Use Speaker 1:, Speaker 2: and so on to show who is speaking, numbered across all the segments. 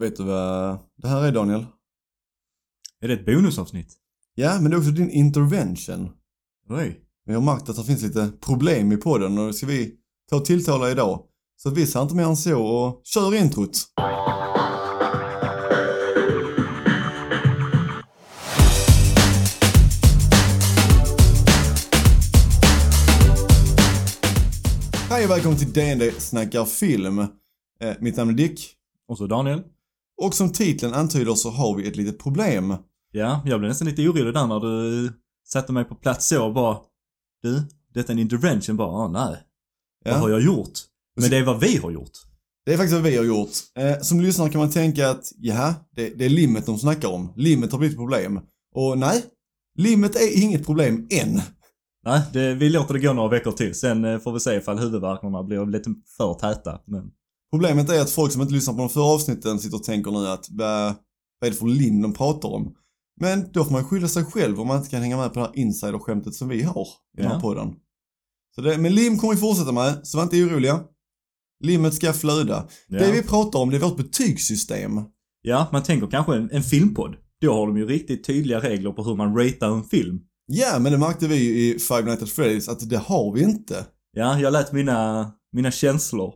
Speaker 1: Vet du vad det här är Daniel?
Speaker 2: Är det ett bonusavsnitt?
Speaker 1: Ja, men det är också din intervention.
Speaker 2: Oj.
Speaker 1: Vi har märkt att det finns lite problem i podden och det ska vi ta och tilltala idag. Så vi säger inte mer än så och kör introt! Hej och välkommen till D&D snackar film. Eh, mitt namn är Dick
Speaker 2: Och så Daniel.
Speaker 1: och som titeln antyder så har vi ett litet problem.
Speaker 2: Ja, jag blev nästan lite orolig där när du satte mig på plats så och bara Du, detta är en intervention bara. Ah, nej. Vad har
Speaker 1: Ja?
Speaker 2: jag gjort? Men det är vad vi har gjort.
Speaker 1: Det är faktiskt vad vi har gjort. Eh, som lyssnare kan man tänka att, jaha, det, det är limmet de snackar om. Limmet har blivit ett problem. Och nej, limmet är inget problem än.
Speaker 2: Nej, det, vi låter det gå några veckor till. Sen eh, får vi se ifall huvudvärkarna blir lite för täta. Men
Speaker 1: Problemet är att folk som inte lyssnar på de förra avsnitten sitter och tänker nu att vad, vad är det för lim de pratar om? Men då får man skylla sig själv om man inte kan hänga med på det här insiderskämtet som vi har i den här
Speaker 2: Ja.
Speaker 1: podden. Så det, men lim kommer vi fortsätta med, så var inte oroliga. Limmet ska flöda.
Speaker 2: ja.
Speaker 1: Det vi pratar om det är vårt betygssystem.
Speaker 2: ja, man tänker kanske en, en filmpodd. Då har de ju riktigt tydliga regler på hur man ratear en film.
Speaker 1: Ja, men det märkte vi ju i Five Nights at Freddy's att det har vi inte.
Speaker 2: Ja, jag lät mina, mina känslor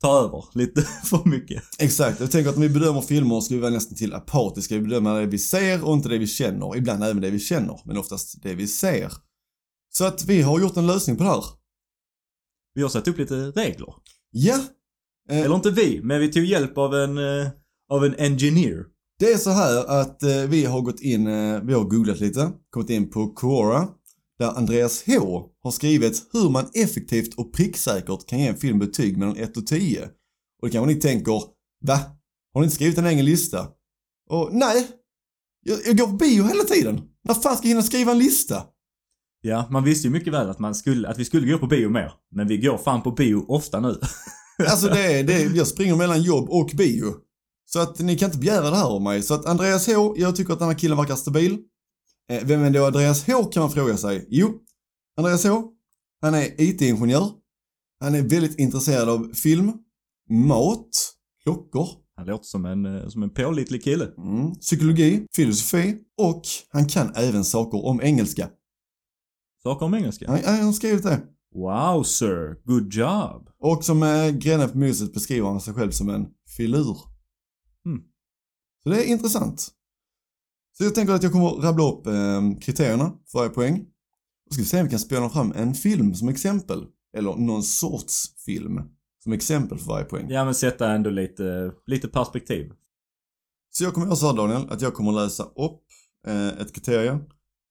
Speaker 2: ta över lite för mycket.
Speaker 1: Exakt, jag tänker att när vi bedömer filmer ska vi vara nästan till apatiska. Vi bedömer det vi ser och inte det vi känner. Ibland även det vi känner, men oftast det vi ser. Så att vi har gjort en lösning på det här.
Speaker 2: Vi har satt upp lite regler.
Speaker 1: Ja,
Speaker 2: Eller inte vi, men vi tog hjälp av en, eh, av en engineer.
Speaker 1: det är så här att eh, vi har gått in, eh, vi har googlat lite, kommit in på Quora, där Andreas H har skrivit hur man effektivt och pricksäkert kan ge en film betyg mellan 1 och 10. Och det kanske ni tänker, va? Har ni inte skrivit en egen lista? Och nej, jag, jag går på bio hela tiden. När fan ska jag hinna skriva en lista?
Speaker 2: Ja, man visste ju mycket väl att, man skulle, att vi skulle gå på bio mer. Men vi går fan på bio ofta nu.
Speaker 1: Alltså det är, det är, jag springer mellan jobb och bio. Så att ni kan inte begära det här av mig. Så att Andreas H, jag tycker att den här killen verkar stabil. Eh, vem är då Andreas H kan man fråga sig. Jo, Andreas H, han är IT-ingenjör. Han är väldigt intresserad av film, mat, klockor,
Speaker 2: Han låter som en, eh, som en pålitlig kille.
Speaker 1: mm, psykologi, filosofi och han kan även saker om engelska.
Speaker 2: Saker om engelska.
Speaker 1: Han, han har skrivit det.
Speaker 2: Wow sir, good job.
Speaker 1: Och som eh, grenar på muset beskriver han sig själv som en filur.
Speaker 2: Mm.
Speaker 1: Så det är intressant. Så jag tänker att jag kommer rabbla upp eh, kriterierna för varje poäng. Och ska vi se om vi kan spela fram en film som exempel. Eller någon sorts film som exempel för varje poäng.
Speaker 2: Ja men sätta ändå lite, lite perspektiv.
Speaker 1: Så jag kommer göra så här Daniel, att jag kommer läsa upp eh, ett kriterie.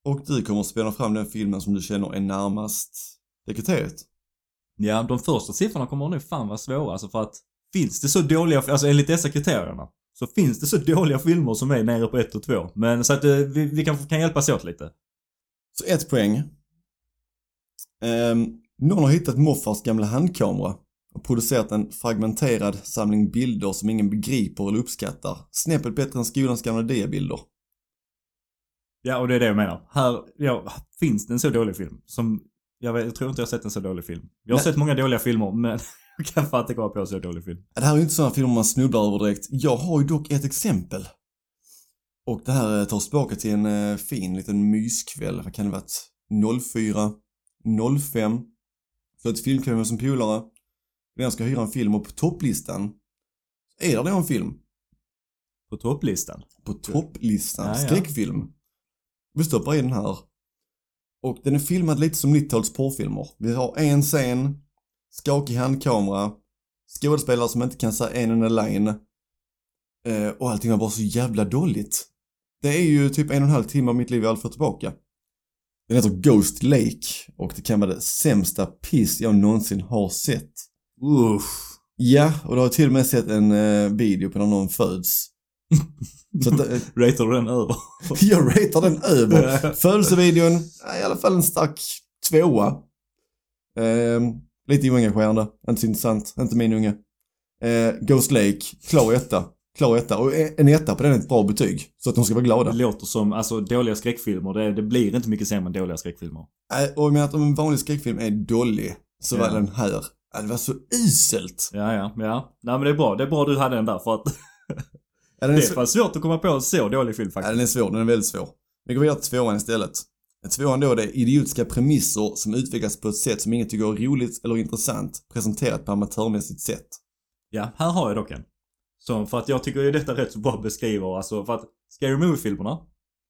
Speaker 1: Och du kommer spela fram den filmen som du känner är närmast det kriteriet.
Speaker 2: Ja, de första siffrorna kommer nog fan vara svåra alltså för att finns det så dåliga, alltså enligt dessa kriterierna, så finns det så dåliga filmer som är nere på 1 och 2. Men så att eh, vi, vi kan, kan hjälpas åt lite.
Speaker 1: Så ett poäng. Ehm, någon har hittat morfars gamla handkamera och producerat en fragmenterad samling bilder som ingen begriper eller uppskattar. Snäppet bättre än skolans gamla diabilder.
Speaker 2: Ja, och det är det jag menar. Här, ja, finns det en så dålig film som, jag, vet, jag tror inte jag har sett en så dålig film. Jag har
Speaker 1: Nej.
Speaker 2: sett många dåliga filmer, men jag kan fan inte komma på en så dålig film.
Speaker 1: Det här är ju inte sådana filmer man snubblar över direkt. Jag har ju dock ett exempel. Och det här eh, tar oss tillbaka till en eh, fin liten myskväll. Vad kan det varit? 04, 05. Så ett filmkväll med som polare. Den ska hyra en film och på topplistan är det då en film
Speaker 2: På topplistan.
Speaker 1: på topplistan.
Speaker 2: Ja, ja.
Speaker 1: Skräckfilm. Vi stoppar i den här. Och den är filmad lite som 90-tals porrfilmer. Vi har en scen, skakig handkamera, skådespelare som inte kan säga en enda line. Eh, och allting var bara så jävla dåligt. Det är ju typ en och en halv timme av mitt liv jag aldrig får tillbaka. Den heter Ghost Lake och det kan vara det sämsta piss jag någonsin har sett.
Speaker 2: Usch.
Speaker 1: Ja, och då har jag till och med sett en eh, video på när någon föds. Så att, eh,
Speaker 2: Ratar du den över?
Speaker 1: jag ratear den över. Födelsevideon, ja, i alla fall en stark tvåa. Ehm, lite oengagerande, inte så intressant, inte min unge. Eh, Ghost Lake, klar etta. Klar etta. Och en etta på den är ett bra betyg. Så att de ska vara glada.
Speaker 2: Det låter som, alltså dåliga skräckfilmer, det, det blir inte mycket sämre än dåliga skräckfilmer.
Speaker 1: Eh, och jag menar att om en vanlig skräckfilm är dålig, så var
Speaker 2: Ja.
Speaker 1: den här, ja, det var så uselt.
Speaker 2: Ja, ja, ja. Nej men det är bra. Det är bra du hade den där för att
Speaker 1: Ja, den, är
Speaker 2: Det är
Speaker 1: sv-
Speaker 2: fan svårt att komma på en så dålig film
Speaker 1: ja,
Speaker 2: faktiskt.
Speaker 1: den är svår, den är väldigt svår. Vi går vidare till tvåan istället. Tvåan då, det är idiotiska premisser som utvecklas på ett sätt som ingen tycker är roligt eller intressant, presenterat på amatörmässigt sätt.
Speaker 2: Ja, här har jag dock en. Som, för att jag tycker ju detta rätt så bra beskriver, alltså för att Scary Movie-filmerna,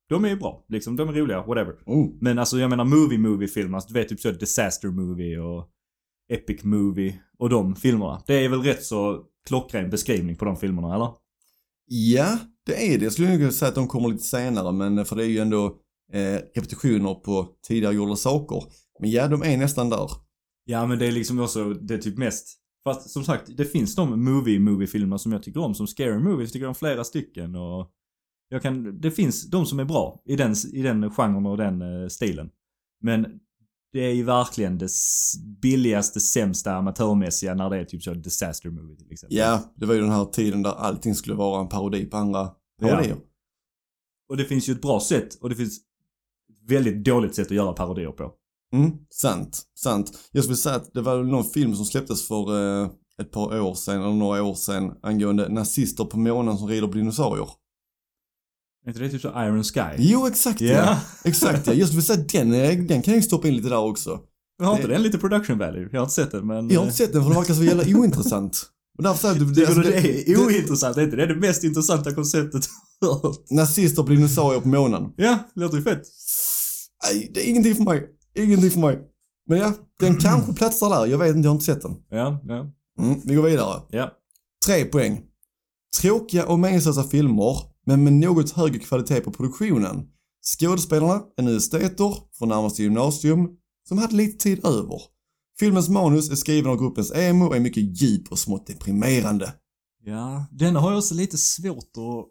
Speaker 2: de är ju bra. Liksom, de är roliga, whatever.
Speaker 1: Oh,
Speaker 2: Men alltså jag menar movie-movie-filmer, alltså, du vet typ så Disaster Movie och Epic Movie och de filmerna. Det är väl rätt så klockren beskrivning på de filmerna, eller?
Speaker 1: Ja, det är det. Jag skulle nog kunna säga att de kommer lite senare, men för det är ju ändå eh, repetitioner på tidigare gjorda saker. Men ja, de är nästan där.
Speaker 2: Ja, men det är liksom också, det är typ mest... Fast som sagt, det finns de movie-movie-filmer som jag tycker om, som Scary Movies tycker jag om flera stycken och... Jag kan, det finns de som är bra i den, i den genren och den eh, stilen. Men det är ju verkligen det s- billigaste, sämsta amatörmässiga när det är typ så disaster movie till exempel.
Speaker 1: Ja, det var ju den här tiden där allting skulle vara en parodi på andra parodier.
Speaker 2: Och det finns ju ett bra sätt och det finns ett väldigt dåligt sätt att göra parodier på.
Speaker 1: Mm, sant, sant. Jag skulle säga att det var väl någon film som släpptes för eh, ett par år sedan, eller några år sedan, angående nazister på månen som rider på dinosaurier.
Speaker 2: Är inte det typ så Iron Sky?
Speaker 1: Jo, exakt ja.
Speaker 2: Ja.
Speaker 1: Exakt ja. Jag skulle säga att den, eh, den kan jag ju stoppa in lite där också.
Speaker 2: Men Har inte den lite production value? Jag har inte sett den men...
Speaker 1: Jag har inte sett den för den verkar så jävla ointressant. Och därför säger jag att det,
Speaker 2: Tycker
Speaker 1: alltså,
Speaker 2: du det
Speaker 1: det-
Speaker 2: är ointressant? Är inte det det mest intressanta konceptet du har hört?
Speaker 1: Nazister på dinosaurier på månen.
Speaker 2: Ja, låter ju fett.
Speaker 1: Nej, det är ingenting för mig. Ingenting för mig. Men ja, den kanske platsar där. Jag vet inte, jag har inte sett den.
Speaker 2: Ja, ja,
Speaker 1: Mm, vi går vidare.
Speaker 2: ja.
Speaker 1: Tre poäng. Tråkiga och meningslösa filmer, men med något högre kvalitet på produktionen. Skådespelarna är nu esteter från närmaste gymnasium som hade lite tid över. Filmens manus är skriven av gruppens emo och är mycket djup och smått deprimerande.
Speaker 2: Ja, denna har jag också lite svårt att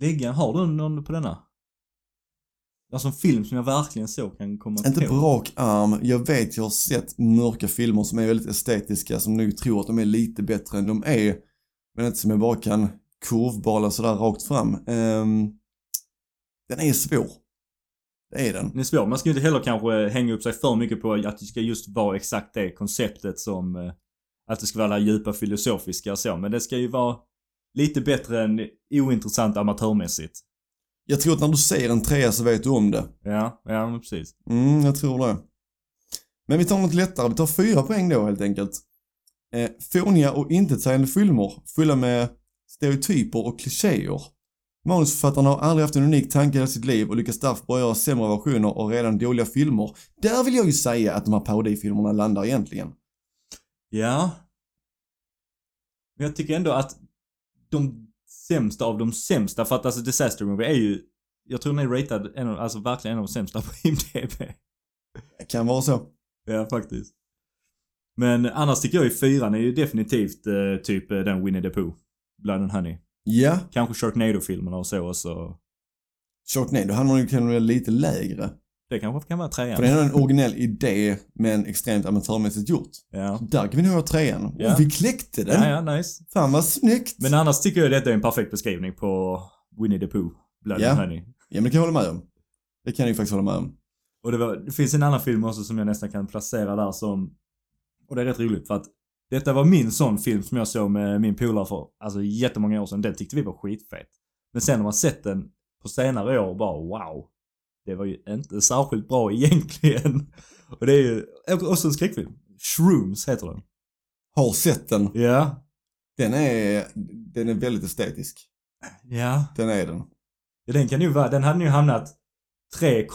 Speaker 2: lägga. Har du någon på denna? Alltså en film som jag verkligen så kan komma
Speaker 1: Inte
Speaker 2: på.
Speaker 1: på rak arm. Jag vet jag har sett mörka filmer som är väldigt estetiska som nog tror att de är lite bättre än de är. Men inte som jag bara kan kurvbala sådär rakt fram. Ehm, den är svår. Det är den.
Speaker 2: Den är svår. Man ska ju inte heller kanske hänga upp sig för mycket på att det ska just vara exakt det konceptet som... eh, Att det ska vara det här djupa filosofiska och så. Men det ska ju vara lite bättre än ointressant amatörmässigt.
Speaker 1: Jag tror att när du ser en trea så vet du om det.
Speaker 2: Ja, ja men precis.
Speaker 1: Mm, jag tror det. Men vi tar något lättare. Vi tar fyra poäng då helt enkelt. Eh, fåniga och intetsägande filmer fulla med stereotyper och klichéer. Manusförfattarna har aldrig haft en unik tanke i hela sitt liv och lyckas därför bara göra sämre versioner av redan dåliga filmer. Där vill jag ju säga att de här parodifilmerna landar egentligen.
Speaker 2: Ja. Men jag tycker ändå att de sämsta av de sämsta, för att alltså Disaster Movie är ju, jag tror den är ratad, en av, alltså verkligen en av de sämsta på IMDB.
Speaker 1: Det kan vara så.
Speaker 2: Ja, faktiskt. Men annars tycker jag ju fyran är ju definitivt eh, typ eh, den Winnie the Pooh. Blood and Honey.
Speaker 1: Ja,
Speaker 2: Kanske Sharknado-filmerna och så och så.
Speaker 1: Sharknado, han var ju till och med lite lägre.
Speaker 2: Det kanske kan vara
Speaker 1: För
Speaker 2: trean.
Speaker 1: det är en originell idé, men extremt amatörmässigt gjort.
Speaker 2: Ja.
Speaker 1: Där kan vi nog ha trean.
Speaker 2: Ja.
Speaker 1: Och vi kläckte den!
Speaker 2: ja, ja, nice.
Speaker 1: Fan vad snyggt!
Speaker 2: Men annars tycker jag detta är en perfekt beskrivning på Winnie the Pooh. Blood
Speaker 1: Ja.
Speaker 2: and Honey.
Speaker 1: Ja men det kan jag hålla med om. Det kan jag ju faktiskt hålla med om.
Speaker 2: Och det, var, det finns en annan film också som jag nästan kan placera där som... Och det är rätt roligt för att detta var min sån film som jag såg med min polare för alltså jättemånga år sedan. Den tyckte vi var skitfet. Men sen när man sett den på senare år bara wow. Det var ju inte särskilt bra egentligen. Och det är ju och- också en skräckfilm. Shrooms heter den.
Speaker 1: Har sett den.
Speaker 2: Ja.
Speaker 1: Den är, den är väldigt estetisk.
Speaker 2: Ja.
Speaker 1: Den är den.
Speaker 2: Den kan ju vara, den hade ju hamnat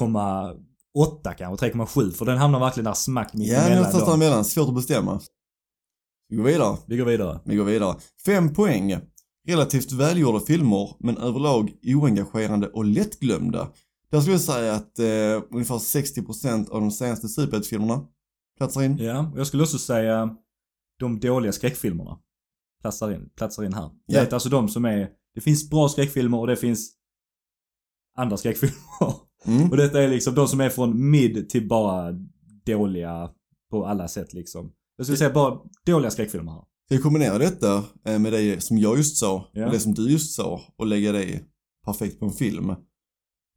Speaker 2: 3,8 kanske, 3,7 för den hamnar verkligen där smack mitt
Speaker 1: Ja,
Speaker 2: emellan
Speaker 1: någonstans
Speaker 2: dem.
Speaker 1: däremellan. Svårt att bestämma. Vi går vidare.
Speaker 2: Vi går vidare.
Speaker 1: Vi går vidare. Fem poäng. Relativt välgjorda filmer, men överlag oengagerande och lättglömda. Där skulle jag säga att eh, ungefär 60% av de senaste superhetsfilmerna platsar in.
Speaker 2: Ja, och jag skulle också säga de dåliga skräckfilmerna platsar in, platsar in här.
Speaker 1: Ja.
Speaker 2: Det är alltså de som är, det finns bra skräckfilmer och det finns andra skräckfilmer.
Speaker 1: Mm.
Speaker 2: Och detta är liksom de som är från mid till bara dåliga på alla sätt liksom. Jag skulle säga bara dåliga skräckfilmer här.
Speaker 1: Ska jag kombinera detta eh, med det som jag just sa
Speaker 2: Ja.
Speaker 1: och det som du just sa och lägga det perfekt på en film?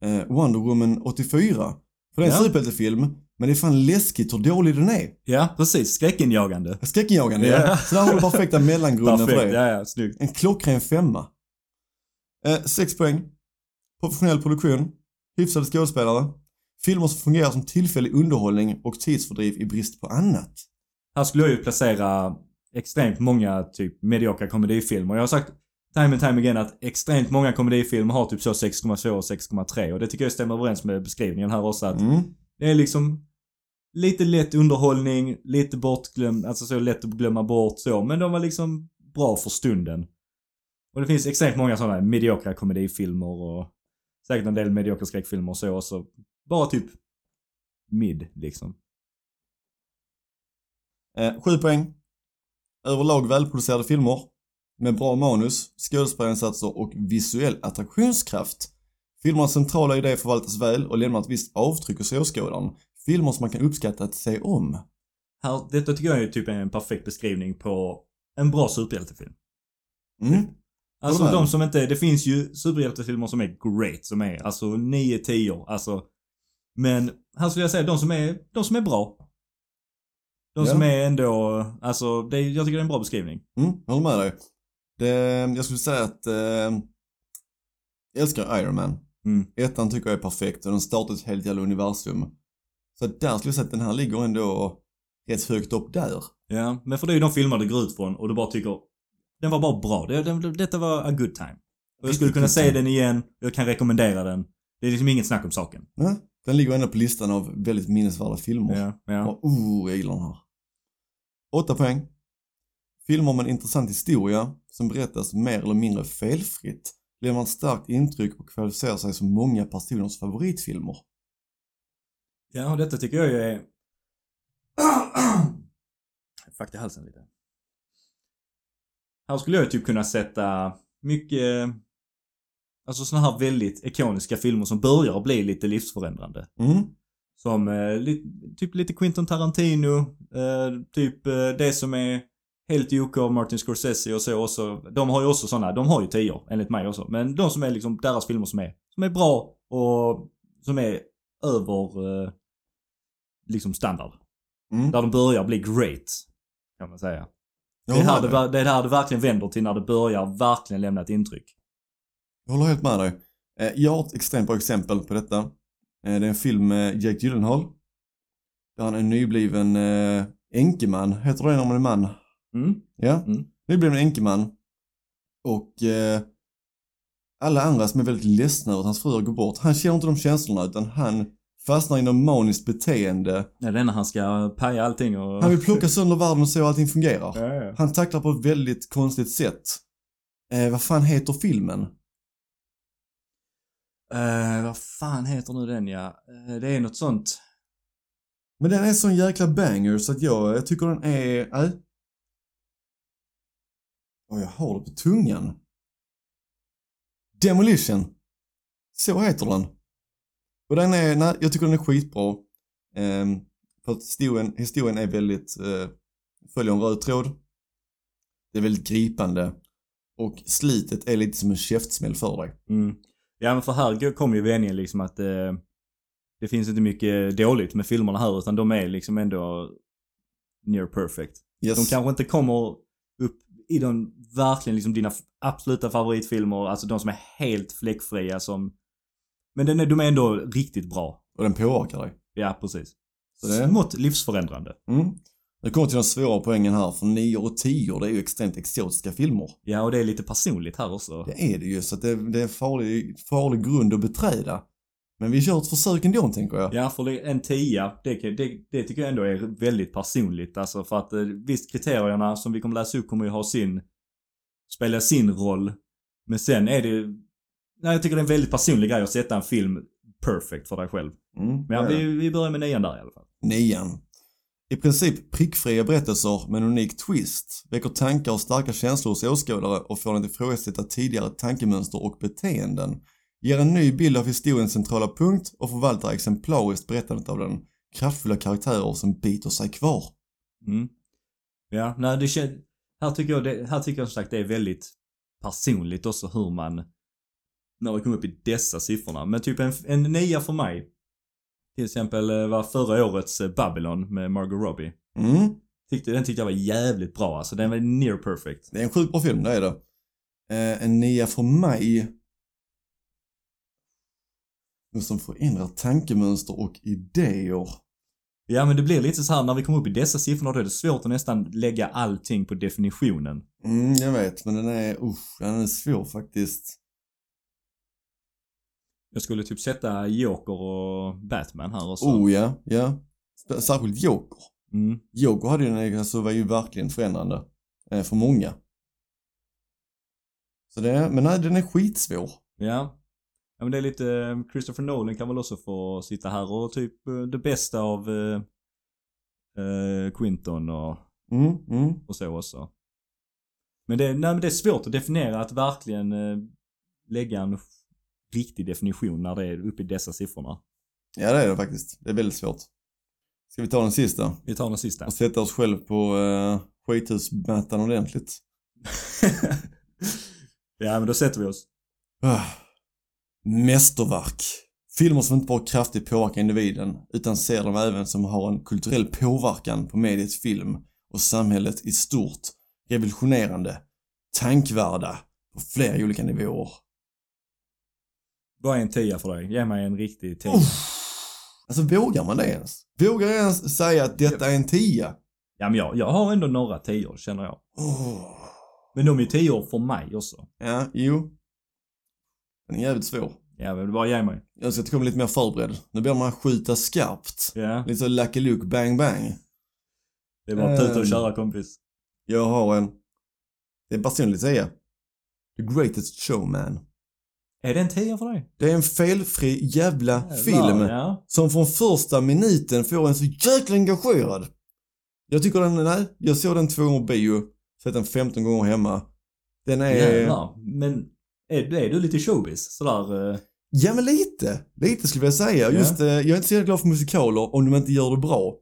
Speaker 1: Eh, Wonder Woman 84. För det är en
Speaker 2: Ja.
Speaker 1: superhjältefilm, men det är fan läskigt hur dålig den är.
Speaker 2: Ja, precis. Skräckinjagande.
Speaker 1: Skräckinjagande, ja.
Speaker 2: Ja.
Speaker 1: Så där har du perfekta mellangrunden för
Speaker 2: Perfekt,
Speaker 1: det.
Speaker 2: ja ja, snyggt.
Speaker 1: En klockren femma. Eh, 6 poäng. Professionell produktion. Hyfsade skådespelare. Filmer som fungerar som tillfällig underhållning och tidsfördriv i brist på annat.
Speaker 2: Här skulle jag ju placera extremt många typ mediokra komedifilmer. Jag har sagt time and time again att extremt många komedifilmer har typ så 6,2 och 6,3 och det tycker jag stämmer överens med beskrivningen här också att
Speaker 1: Mm.
Speaker 2: det är liksom lite lätt underhållning, lite bortglömd, alltså så lätt att glömma bort så men de var liksom bra för stunden. Och det finns extremt många sådana mediokra komedifilmer och säkert en del mediokra skräckfilmer och så, så bara typ mid liksom.
Speaker 1: Eh, 7 poäng. Överlag välproducerade filmer. Med bra manus, skådespelarinsatser och visuell attraktionskraft. Filmernas centrala idé förvaltas väl och lämnar ett visst avtryck hos åskådaren. Filmer som man kan uppskatta att se om.
Speaker 2: Här, detta tycker jag är typ en perfekt beskrivning på en bra superhjältefilm.
Speaker 1: Mm.
Speaker 2: Alltså
Speaker 1: Håller med.
Speaker 2: de som inte, det finns ju superhjältefilmer som är great, som är alltså 9 10 alltså. Men här skulle jag säga de som är, de som är bra. De
Speaker 1: Ja.
Speaker 2: som är ändå, alltså det, är- jag tycker det är en bra beskrivning.
Speaker 1: Mm, jag håller med dig. Det, jag skulle säga att... Eh, jag älskar Iron Man.
Speaker 2: Mm.
Speaker 1: Ettan tycker jag är perfekt och den startar ett helt jävla universum. Så att där skulle jag säga att den här ligger ändå rätt högt upp där.
Speaker 2: Ja, men för det är ju de filmer du går ut från och du bara tycker, den var bara bra. Det, den, detta var a good time. Och jag skulle kunna
Speaker 1: Good
Speaker 2: se
Speaker 1: time.
Speaker 2: den igen, jag kan rekommendera den. Det är liksom inget snack om saken.
Speaker 1: Nej, den ligger ändå på listan av väldigt minnesvärda filmer.
Speaker 2: Ja, ja.
Speaker 1: Ja, oh, jag gillar den här. 8 poäng. Filmer med en intressant historia som berättas mer eller mindre felfritt lämnar ett starkt intryck och kvalificerar sig som många personers favoritfilmer.
Speaker 2: Ja, och detta tycker jag ju är... Fuck i halsen lite. Här skulle jag ju typ kunna sätta mycket... Alltså såna här väldigt ikoniska filmer som börjar bli lite livsförändrande.
Speaker 1: Mm,
Speaker 2: Som eh, li, typ lite Quentin Tarantino, eh, typ eh, det som är helt OK av Martin Scorsese och så också. De har ju också såna, de har ju tio enligt mig också. Men de som är liksom deras filmer som är, som är bra och som är över eh, liksom standard.
Speaker 1: mm.
Speaker 2: Där de börjar bli great. Kan man säga. Det
Speaker 1: Jag
Speaker 2: är,
Speaker 1: håller
Speaker 2: här
Speaker 1: med
Speaker 2: det,
Speaker 1: dig.
Speaker 2: ver- det är här det verkligen vänder till när det börjar verkligen lämna ett intryck.
Speaker 1: Jag håller helt med dig. Eh, Jag har ett extremt bra exempel på detta. Eh, Det är en film med Jake Gyllenhaal. Där han är nybliven eh, enkeman. Heter det när man är man?
Speaker 2: Mm.
Speaker 1: Ja.
Speaker 2: Mm.
Speaker 1: Nybliven enkeman. Och eh, alla andra som är väldigt ledsna över att hans fruar går bort. Han känner inte de känslorna utan han fastnar i något maniskt beteende.
Speaker 2: Ja, det är när han ska paja allting och...
Speaker 1: Han vill plocka sönder världen och se hur allting fungerar.
Speaker 2: Ja, ja.
Speaker 1: Han tacklar på ett väldigt konstigt sätt. Eh, vad fan heter filmen?
Speaker 2: Eh, vad fan heter nu den ja? Eh, det är något sånt.
Speaker 1: Men den är sån jäkla banger så att jag, jag tycker den är... Nej. Och jag har det på tungan. Demolition. Så heter den. Och den är, nej, jag tycker den är skitbra. Ehm, för att historien, historien är väldigt, eh, följer en röd tråd. Det är väldigt gripande. Och slitet är lite som en käftsmäll för dig.
Speaker 2: Mm. Ja men för här kom ju vändningen liksom att eh, det finns inte mycket dåligt med filmerna här utan de är liksom ändå near perfect.
Speaker 1: Yes.
Speaker 2: De kanske inte kommer upp i de verkligen liksom dina f- absoluta favoritfilmer, alltså de som är helt fläckfria som... Men den är, de är ändå riktigt bra.
Speaker 1: Och den påverkar dig.
Speaker 2: Ja, precis.
Speaker 1: Så det-
Speaker 2: Smått livsförändrande.
Speaker 1: Mm. Nu kommer till de svåra poängen här, för 9 och 10 det är ju extremt exotiska filmer.
Speaker 2: Ja, och det är lite personligt här också.
Speaker 1: Det är det ju, så att det, det är en farlig, farlig grund att beträda. Men vi kör ett försök ändå, tänker jag.
Speaker 2: Ja, för det- en tia, det, kan- det, det tycker jag ändå är väldigt personligt. Alltså för att eh, visst, kriterierna som vi kommer läsa upp kommer ju ha sin, spela sin roll. Men sen är det, nej jag tycker det är en väldigt personlig grej att sätta en film perfect för dig själv.
Speaker 1: Mm,
Speaker 2: Men ja,
Speaker 1: det är det.
Speaker 2: vi, vi börjar med nian där i alla fall.
Speaker 1: Nian. I princip prickfria berättelser med en unik twist väcker tankar och starka känslor hos åskådare och får den att ifrågasätta tidigare tankemönster och beteenden. Ger en ny bild av historiens centrala punkt och förvaltar exemplariskt berättandet av den. Kraftfulla karaktärer som biter sig kvar.
Speaker 2: Mm. Ja, nej det känns, här tycker jag, det, här tycker jag som sagt det är väldigt personligt också hur man, när vi kommer upp i dessa siffrorna. Men typ en, en nia för mig, till exempel eh, var förra årets eh, Babylon med Margot Robbie.
Speaker 1: Mm.
Speaker 2: Tyckte, den tyckte jag var jävligt bra alltså. Den var near perfect.
Speaker 1: Det är en sjukt bra film, det är det. Eh, en nia för mig men som förändrar tankemönster och idéer.
Speaker 2: Ja men det blir lite så här när vi kommer upp i dessa siffrorna då är det svårt att nästan lägga allting på definitionen.
Speaker 1: Mm, jag vet, men den är, usch, den är svår faktiskt.
Speaker 2: Jag skulle typ sätta Joker och Batman här också.
Speaker 1: Oh ja, ja. Sp- Särskilt Joker.
Speaker 2: Mm.
Speaker 1: Joker hade ju en egen, alltså var ju verkligen förändrande. eh, För många. Så det, är- men nej, den är skitsvår.
Speaker 2: Ja. ja men det är lite, eh, Christopher Nolan kan väl också få sitta här och typ eh, det bästa av eh, eh, Quinton och,
Speaker 1: Mm, mm.
Speaker 2: och så också. Men det, nej, men det är svårt att definiera att verkligen eh, lägga en riktig definition när det är uppe i dessa siffrorna.
Speaker 1: Ja det är det faktiskt. Det är väldigt svårt. Ska vi ta den sista?
Speaker 2: Vi tar den sista.
Speaker 1: Och sätta oss själv på eh, skithusmattan ordentligt.
Speaker 2: ja men då sätter vi oss.
Speaker 1: Ah. Mästerverk. Filmer som inte bara kraftigt påverkar individen utan ser dem även som har en kulturell påverkan på mediets film och samhället i stort. Revolutionerande. Tankvärda. På flera olika nivåer.
Speaker 2: Vad är en tia för dig? Ge mig en riktig tia.
Speaker 1: Uff. Alltså vågar man det ens? Vågar jag ens säga att detta är en tia?
Speaker 2: Ja men jag, jag har ändå några tior känner jag.
Speaker 1: Oh.
Speaker 2: Men de är tior för mig också.
Speaker 1: Ja, jo. Den är jävligt svår.
Speaker 2: Ja men bara ge mig.
Speaker 1: Jag ska komma lite mer förberedd. Nu ber man skjuta skarpt.
Speaker 2: Ja.
Speaker 1: Lite så Lucky Luke bang bang.
Speaker 2: Det är bara att tuta
Speaker 1: Ehm.
Speaker 2: och köra kompis.
Speaker 1: Jag har en... Det är en personlig tia. The Greatest Showman.
Speaker 2: Är det en tia för dig?
Speaker 1: Det är en felfri jävla film
Speaker 2: Ja.
Speaker 1: som från första minuten får en så jäkla engagerad. Jag tycker den, nej, jag såg den två gånger på bio, sett den 15 gånger hemma. Den
Speaker 2: Eh,
Speaker 1: är...
Speaker 2: Jävlar. Men är, är du lite showbiz? Sådär... eh,
Speaker 1: Ja men lite, lite skulle jag säga.
Speaker 2: Ja.
Speaker 1: Just, eh, jag är inte så jävla glad för musikaler om de inte gör det bra.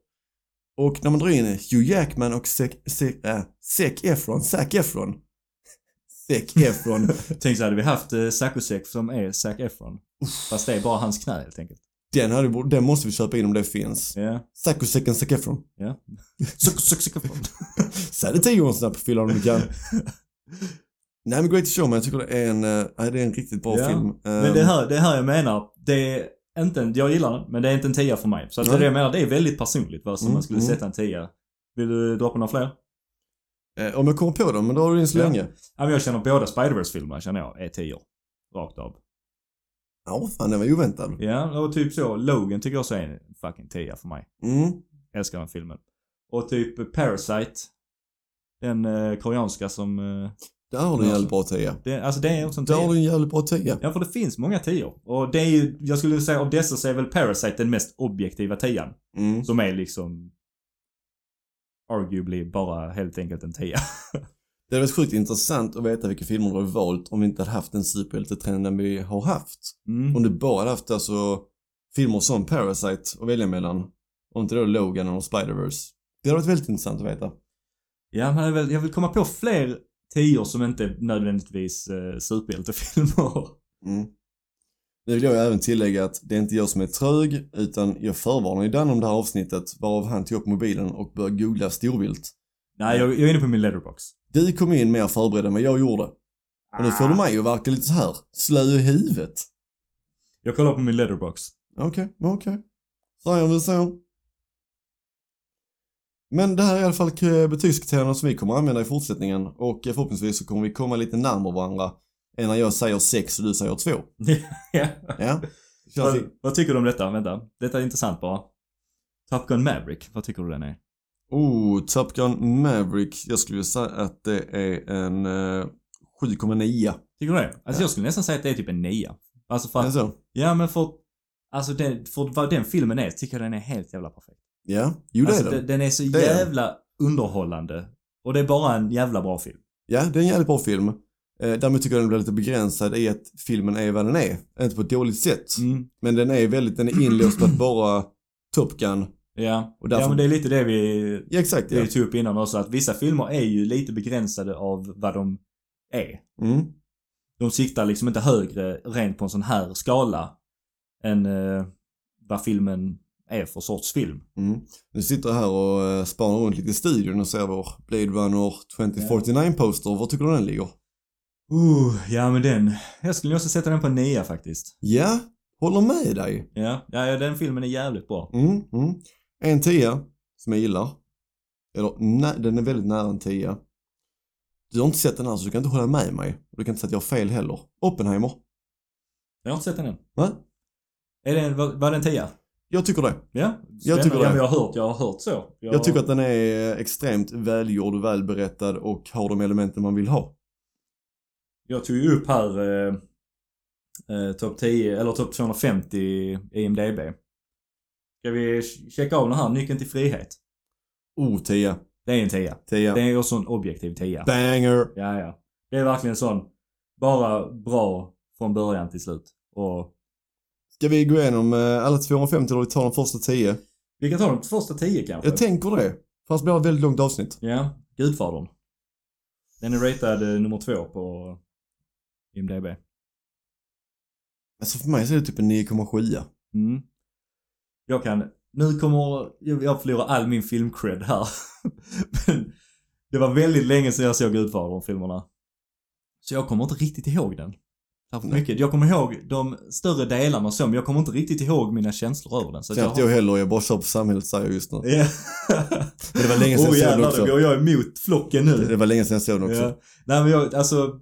Speaker 1: Och när man drar in Hugh Jackman och Zac, Zac, äh, Zac Efron, Zac Efron. Zac Efron.
Speaker 2: Tänk så hade vi haft eh, Zac och Zac som är Zac Efron. Fast det är bara hans knä helt enkelt.
Speaker 1: den, hade, borde- den måste vi köpa in om det finns.
Speaker 2: Ja.
Speaker 1: Zac och Zac and Zac Efron.
Speaker 2: Ja. Zac och Zac Zac Efron.
Speaker 1: Säg det tio gånger snabbt på fyllan om du kan. Nej men Great Showman, jag tycker det är en, eh, nej, det är en riktigt bra
Speaker 2: Ja,
Speaker 1: film.
Speaker 2: Men
Speaker 1: Ehm,
Speaker 2: det här, det här jag menar, det är inte en, jag gillar den, men det är inte en tia för mig. Så att det är det jag menar, det är väldigt personligt vad som
Speaker 1: Mm,
Speaker 2: man skulle
Speaker 1: mm.
Speaker 2: sätta en tia. Vill du dra på några fler?
Speaker 1: eh, om jag kommer på dem, men då har du in så
Speaker 2: Ja.
Speaker 1: länge.
Speaker 2: Ja, men jag känner båda Spider-Verse filmerna känner jag är tior. Rakt av.
Speaker 1: Ja, fan den var oväntad.
Speaker 2: Ja, och typ så. Logan tycker jag också är en fucking tia för mig.
Speaker 1: Mm.
Speaker 2: Älskar den filmen. Och typ Parasite. Den eh, koreanska som... Eh,
Speaker 1: Där har du en
Speaker 2: Ja.
Speaker 1: jävligt bra tia.
Speaker 2: det, alltså det är också en
Speaker 1: Där har
Speaker 2: tia.
Speaker 1: du en jävligt bra tia.
Speaker 2: Ja, för det finns många tior. Och det är ju, jag skulle säga av dessa så är väl Parasite den mest objektiva tian.
Speaker 1: Mm.
Speaker 2: Som är liksom arguably bara helt enkelt en tia.
Speaker 1: Det hade varit sjukt intressant att veta vilka filmer du har valt om vi inte hade haft den superhjältetrenden vi har haft.
Speaker 2: Mm.
Speaker 1: Om du bara hade haft alltså filmer som Parasite att välja mellan och inte då Logan och Spider-Verse. Det hade varit väldigt intressant att veta.
Speaker 2: Ja, men jag vill, jag vill komma på fler tior som inte nödvändigtvis eh, superhjältefilmer.
Speaker 1: Mm. Nu vill jag även tillägga att det är inte jag som är trög utan jag förvarnar ju Dan om det här avsnittet varav han tog upp mobilen och började googla storvilt.
Speaker 2: Nej, jag, jag är inne på min letterbox.
Speaker 1: Du kom in mer förberedd än vad jag gjorde. Och nu får du mig att verka lite så här slö i huvudet.
Speaker 2: Jag kollar på min letterbox.
Speaker 1: Okej, okej. Säger vi så. Men det här är i alla fall k- betygskriterierna som vi kommer använda i fortsättningen och eh, förhoppningsvis så kommer vi komma lite närmare varandra än när jag säger sex och du säger två.
Speaker 2: Ja.
Speaker 1: Ja. Känns det-
Speaker 2: vad, vad tycker du om detta? Vänta. Detta är intressant bara. Top Gun Maverick, vad tycker du den är?
Speaker 1: Oh, Top Gun Maverick. Jag skulle vilja säga att det är en eh, 7,9.
Speaker 2: Tycker du det? Alltså jag skulle nästan säga att det är typ en nia. Alltså för
Speaker 1: Är det
Speaker 2: att,
Speaker 1: så?
Speaker 2: ja men för, alltså den, för vad den filmen är, tycker jag den är helt jävla perfekt.
Speaker 1: Ja, jo det
Speaker 2: alltså,
Speaker 1: är
Speaker 2: den.
Speaker 1: den.
Speaker 2: den är så
Speaker 1: Det är den.
Speaker 2: jävla underhållande. Och det är bara en jävla bra film.
Speaker 1: Ja, det är en jävligt bra film. Eh, däremot tycker jag den blir lite begränsad i att filmen är vad den är. Inte på ett dåligt sätt. Men den är väldigt, den är inlåst på att bara Top Gun.
Speaker 2: Ja.
Speaker 1: Och därför-
Speaker 2: ja, men det är lite det vi,
Speaker 1: Ja, exakt ja.
Speaker 2: vi tog upp innan också. Att vissa filmer är ju lite begränsade av vad de är.
Speaker 1: Mm.
Speaker 2: De siktar liksom inte högre rent på en sån här skala än eh, vad filmen är för sorts film.
Speaker 1: Mm. Nu sitter jag här och eh, spanar runt lite i studion och ser vår Blade Runner 2049 poster. Var tycker du den ligger?
Speaker 2: Uh, ja men den. Jag skulle också sätta den på en nia faktiskt.
Speaker 1: Ja, Håller med dig.
Speaker 2: Ja, ja, ja, den filmen är jävligt bra.
Speaker 1: Mm, mm. En tia, som jag gillar. Eller nej, den är väldigt nära en tia. Du har inte sett den här så du kan inte hålla med mig. Och du kan inte säga att jag har fel heller. Oppenheimer.
Speaker 2: Jag har inte sett den än.
Speaker 1: Va?
Speaker 2: Är den, var, var den tia?
Speaker 1: Jag tycker det.
Speaker 2: Ja,
Speaker 1: Jag tycker
Speaker 2: ja,
Speaker 1: det.
Speaker 2: men jag har hört, jag har hört så.
Speaker 1: Jag tycker att den är eh, extremt välgjord, välberättad och har de elementen man vill ha.
Speaker 2: Jag tog ju upp här eh, eh, topp 10, eller topp 250 i IMDB. Ska vi ch- checka av den här, Nyckeln till frihet?
Speaker 1: Oh, tia.
Speaker 2: Det är en tia.
Speaker 1: Tia.
Speaker 2: Det är också en objektiv tia.
Speaker 1: Banger.
Speaker 2: Ja, ja. Det är verkligen sån, bara bra från början till slut. Och
Speaker 1: Ska vi gå igenom eh, alla 250 eller vi tar de första 10?
Speaker 2: vi kan ta de första tio kanske.
Speaker 1: Jag tänker det. Fast det blir ett väldigt långt avsnitt.
Speaker 2: Ja, Gudfadern. Den är ratad eh, nummer två på IMDB.
Speaker 1: Alltså för mig så är det typ en 9,7.
Speaker 2: Mm. Jag kan, nu kommer, jag jag förlorar all min filmcred här. Men det var väldigt länge sedan jag såg Gudfadern-filmerna. Så jag kommer inte riktigt ihåg den. Därför
Speaker 1: Nej.
Speaker 2: mycket. Jag kommer ihåg de större delarna och så, men jag kommer inte riktigt ihåg mina känslor över den. Så att
Speaker 1: Knappt
Speaker 2: jag
Speaker 1: jag heller, jag bara kör på samhället säger jag just nu.
Speaker 2: Ja.
Speaker 1: Men det var länge sedan jag såg
Speaker 2: Åh
Speaker 1: den
Speaker 2: jävlar, då
Speaker 1: också.
Speaker 2: går jag emot flocken nu.
Speaker 1: Det var länge sedan jag såg den också.
Speaker 2: Ja. Nej men jag, alltså.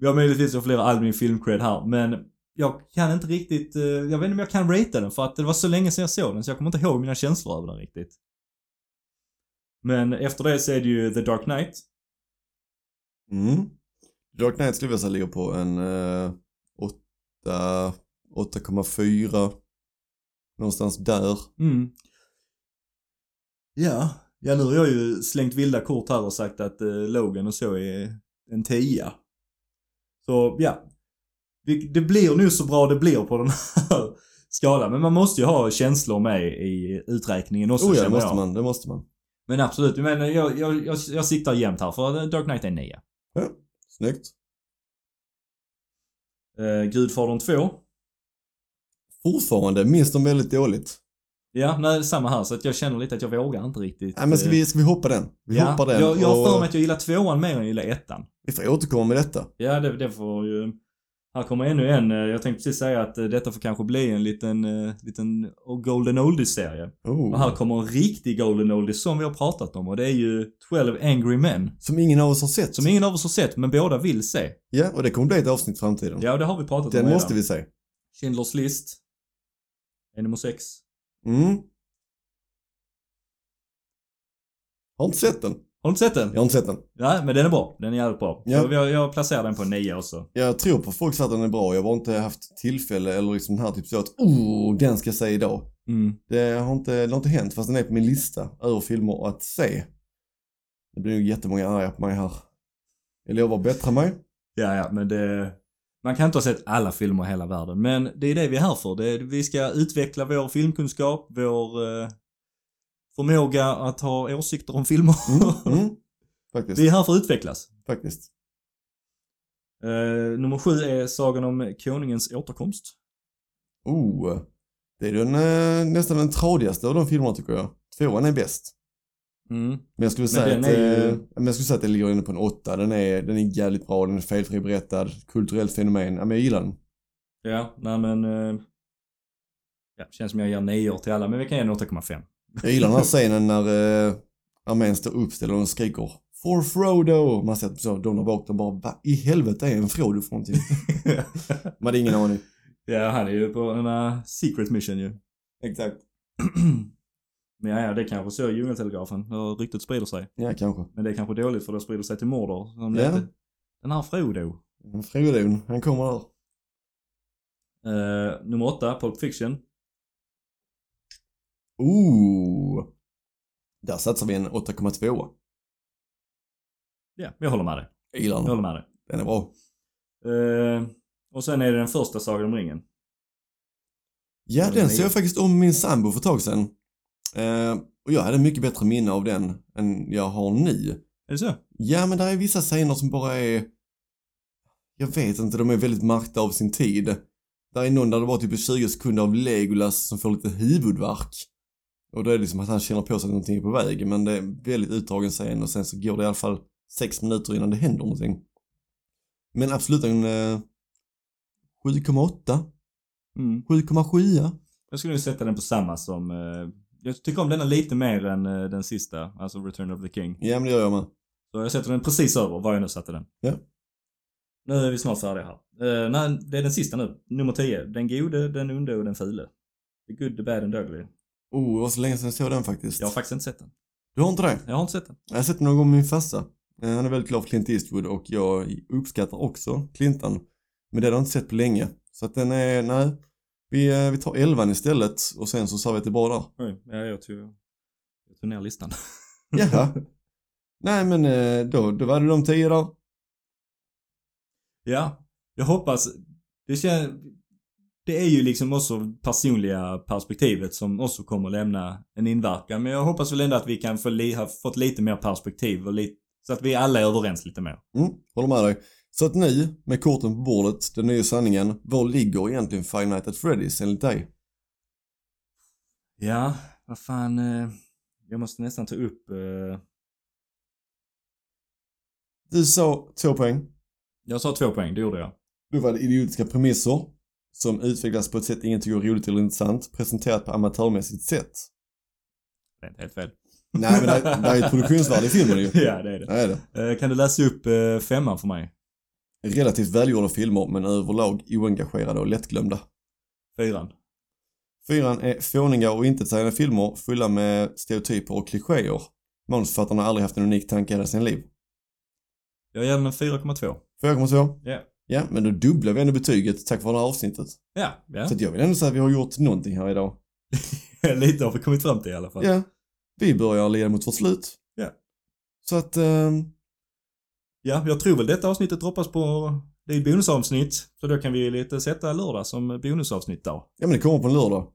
Speaker 2: Jag möjligtvis jag förlorar all min filmcred här men jag kan inte riktigt, eh, jag vet inte om jag kan ratea den för att det var så länge sedan jag såg den så jag kommer inte ihåg mina känslor över den riktigt. Men efter det så är det ju The Dark Knight.
Speaker 1: Mm. Dark Knight skulle jag säga ligger på en eh, åtta- 8,4. Någonstans där.
Speaker 2: Mm. Ja, ja nu har jag ju slängt vilda kort här och sagt att eh, Logan och så är en tia. Så ja, det, det blir nu så bra det blir på den här skalan. Men man måste ju ha känslor med i uträkningen också
Speaker 1: Oh ja, det
Speaker 2: känner
Speaker 1: måste
Speaker 2: jag.
Speaker 1: man. Det måste man.
Speaker 2: Men absolut, men jag, jag, jag, jag siktar jämnt här för Dark Knight är en nia.
Speaker 1: Snyggt.
Speaker 2: Eh, Gudfadern 2.
Speaker 1: Fortfarande minns de väldigt dåligt.
Speaker 2: Ja, nej, samma här så att jag känner lite att jag vågar inte riktigt.
Speaker 1: Nej men ska
Speaker 2: eh,
Speaker 1: vi, ska vi hoppa den? Vi
Speaker 2: ja,
Speaker 1: hoppar den.
Speaker 2: Jag, jag har
Speaker 1: och, eh,
Speaker 2: för mig att jag gillar tvåan mer än jag gillar ettan.
Speaker 1: Vi får återkomma med detta.
Speaker 2: Ja, det, det får ju... Här kommer ännu en. eh, Jag tänkte precis säga att eh, detta får kanske bli en liten, eh, liten Golden Oldies-serie. Och här
Speaker 1: Oh.
Speaker 2: kommer en riktig Golden Oldies som vi har pratat om och det är ju 12 Angry Men.
Speaker 1: Som ingen av oss har sett.
Speaker 2: Som ingen av oss har sett, men båda vill se.
Speaker 1: Ja, och det kommer bli ett avsnitt i framtiden.
Speaker 2: Ja, det har vi pratat om
Speaker 1: Den
Speaker 2: redan.
Speaker 1: måste vi se.
Speaker 2: Schindler's List. Enemo 6.
Speaker 1: Mm. Har inte sett den.
Speaker 2: Har du inte sett den?
Speaker 1: Jag har inte sett den.
Speaker 2: Nej, men den är bra. Den är jävligt bra.
Speaker 1: Ja.
Speaker 2: Så jag, jag placerar den på 9 också.
Speaker 1: Jag tror på folk så att den är bra. Jag har inte haft tillfälle eller liksom den här typ så att oh, den ska jag se idag.
Speaker 2: Mm.
Speaker 1: Det har, inte, det har inte hänt fast den är på min lista över filmer att se. Det blir nog jättemånga arga på mig här. Jag lovar att bättra mig.
Speaker 2: Ja, ja, men det... Man kan inte ha sett alla filmer i hela världen, men det är det vi är här för. Det är, vi ska utveckla vår filmkunskap, vår eh, förmåga att ha åsikter om filmer.
Speaker 1: Mm. Mm. Faktiskt.
Speaker 2: Vi är här för att utvecklas.
Speaker 1: Faktiskt.
Speaker 2: Eh, nummer sju är Sagan om Konungens återkomst.
Speaker 1: Oh. Det är den, eh, nästan den tradigaste av de filmerna tycker jag. Tvåan är bäst.
Speaker 2: Mm.
Speaker 1: Men jag skulle
Speaker 2: Men
Speaker 1: säga,
Speaker 2: den
Speaker 1: att,
Speaker 2: är ju-
Speaker 1: eh, men jag skulle säga att den ligger inne på en åtta. Den är, den är jävligt bra, den är felfri berättad, kulturellt fenomen. Ja, men jag gillar den.
Speaker 2: Ja, nej men... Eh, ja, känns som jag ger 9 till alla, men vi kan ge en 8,5.
Speaker 1: Jag gillar den här scenen när eh, armén står uppställd och de skriker For Frodo! Man ser att så, de där bak de bara Vad i helvete är en Frodo för någonting? Man hade ingen aning.
Speaker 2: ja, han är ju på den här secret mission ju.
Speaker 1: Exakt.
Speaker 2: Men ja, ja, det är kanske så i Djungeltelegrafen, hur ryktet sprider sig.
Speaker 1: Ja, kanske.
Speaker 2: Men det är kanske dåligt för det sprider sig till Mordor. De
Speaker 1: Ja.
Speaker 2: lät- Den här Frodo.
Speaker 1: Men Frodo, han kommer där.
Speaker 2: Eh, nummer åtta, Pulp Fiction.
Speaker 1: Ooh! Oh! Där satsar vi en 8,2.
Speaker 2: Ja, jag håller med dig.
Speaker 1: Jag gillar
Speaker 2: Jag
Speaker 1: den.
Speaker 2: håller med dig.
Speaker 1: Den är bra.
Speaker 2: Eh, och sen är det den första Sagan om ringen.
Speaker 1: Ja,
Speaker 2: Den är
Speaker 1: den såg jag faktiskt om med min sambo för ett tag sedan. Eh, och jag hade mycket bättre minne av den än jag har nu.
Speaker 2: Är det så?
Speaker 1: Ja, men där är vissa scener som bara är... Jag vet inte, de är väldigt märkta av sin tid. Där är någon där det bara typ är 20 sekunder av Legolas som får lite huvudvärk. Och då är det liksom att han känner på sig att någonting är på väg, men det är en väldigt utdragen scen och sen så går det i alla fall sex minuter innan det händer någonting. Men absolut en eh, 7,8.
Speaker 2: Mm.
Speaker 1: 7,7
Speaker 2: Jag skulle nog sätta den på samma som... Eh, jag tycker om denna lite mer än eh, den sista, alltså Return of the King.
Speaker 1: Ja men det gör jag med.
Speaker 2: Så jag sätter den precis över vad jag nu satte den.
Speaker 1: Ja.
Speaker 2: Nu är vi snart färdiga här. Eh, nej, det är den sista nu. Nummer 10. Den gode, den onde och den fule. The good, the bad and the ugly.
Speaker 1: Oh, det var så länge sedan jag såg den faktiskt.
Speaker 2: Jag har faktiskt inte sett den.
Speaker 1: Du har inte det?
Speaker 2: Jag har inte sett den.
Speaker 1: Jag har sett den någon gång med min farsa. Eh, Han är väldigt glad för Clint Eastwood och jag uppskattar också Clintan. Men det har jag inte sett på länge. Så att den är, nej. Vi, eh, vi tar 11 istället och sen så sa vi att det är bara där.
Speaker 2: Oj, ja, jag tog... Jag tog ner listan.
Speaker 1: Jaha. nej men eh, då, då var det de 10 där.
Speaker 2: Ja, jag hoppas. Det, kän, det är ju liksom också personliga perspektivet som också kommer lämna en inverkan. Men jag hoppas väl ändå att vi kan få li, ha fått lite mer perspektiv och lite, så att vi alla är överens lite mer.
Speaker 1: Mm, håller med dig. Så att nu, med korten på bordet, den nya sanningen, var ligger egentligen Five Nights at Freddy's enligt dig?
Speaker 2: Ja, vad fan. eh, Jag måste nästan ta upp... eh,
Speaker 1: Du sa två poäng.
Speaker 2: Jag sa två poäng, det gjorde jag.
Speaker 1: Då var det idiotiska premisser som utvecklas på ett sätt ingen tycker är roligt eller intressant, presenterat på amatörmässigt sätt.
Speaker 2: Det är inte helt fel.
Speaker 1: Nej men det, det är ett produktionsvärde i filmen ju.
Speaker 2: ja, det är det.
Speaker 1: Det är det.
Speaker 2: Eh, Kan du läsa upp eh, femman för mig?
Speaker 1: Relativt välgjorda filmer men överlag oengagerade och lättglömda.
Speaker 2: Fyran.
Speaker 1: Fyran är fåniga och intetsägande filmer fulla med stereotyper och klichéer. Manusförfattarna har aldrig haft en unik tanke i hela sina liv.
Speaker 2: Jag ger den en 4,2.
Speaker 1: 4,2.
Speaker 2: Ja.
Speaker 1: Ja, men då dubblar vi ändå betyget tack vare det här avsnittet.
Speaker 2: Ja, ja.
Speaker 1: Så att jag vill ändå säga att vi har gjort någonting här idag.
Speaker 2: Lite har vi kommit fram till i alla fall.
Speaker 1: Ja. Vi börjar leda mot vårt slut.
Speaker 2: Ja.
Speaker 1: Så att, ehm,
Speaker 2: Ja, jag tror väl detta avsnittet droppas på... Det är ett bonusavsnitt, så då kan vi lite sätta lördag som bonusavsnitt där.
Speaker 1: ja men det kommer på en lördag.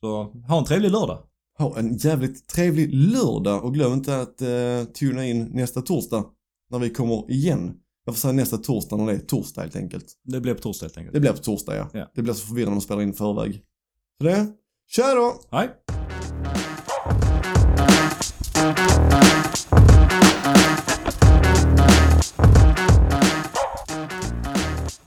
Speaker 2: Så ha en trevlig lördag.
Speaker 1: Ha en jävligt trevlig lördag och glöm inte att eh, tuna in nästa torsdag när vi kommer igen. Jag får säga nästa torsdag när det är torsdag helt enkelt.
Speaker 2: Det blir på torsdag helt enkelt.
Speaker 1: Det blir på torsdag ja.
Speaker 2: Ja.
Speaker 1: Det blir så förvirrande om man spelar in i förväg. Så det, tja då!
Speaker 2: Hej!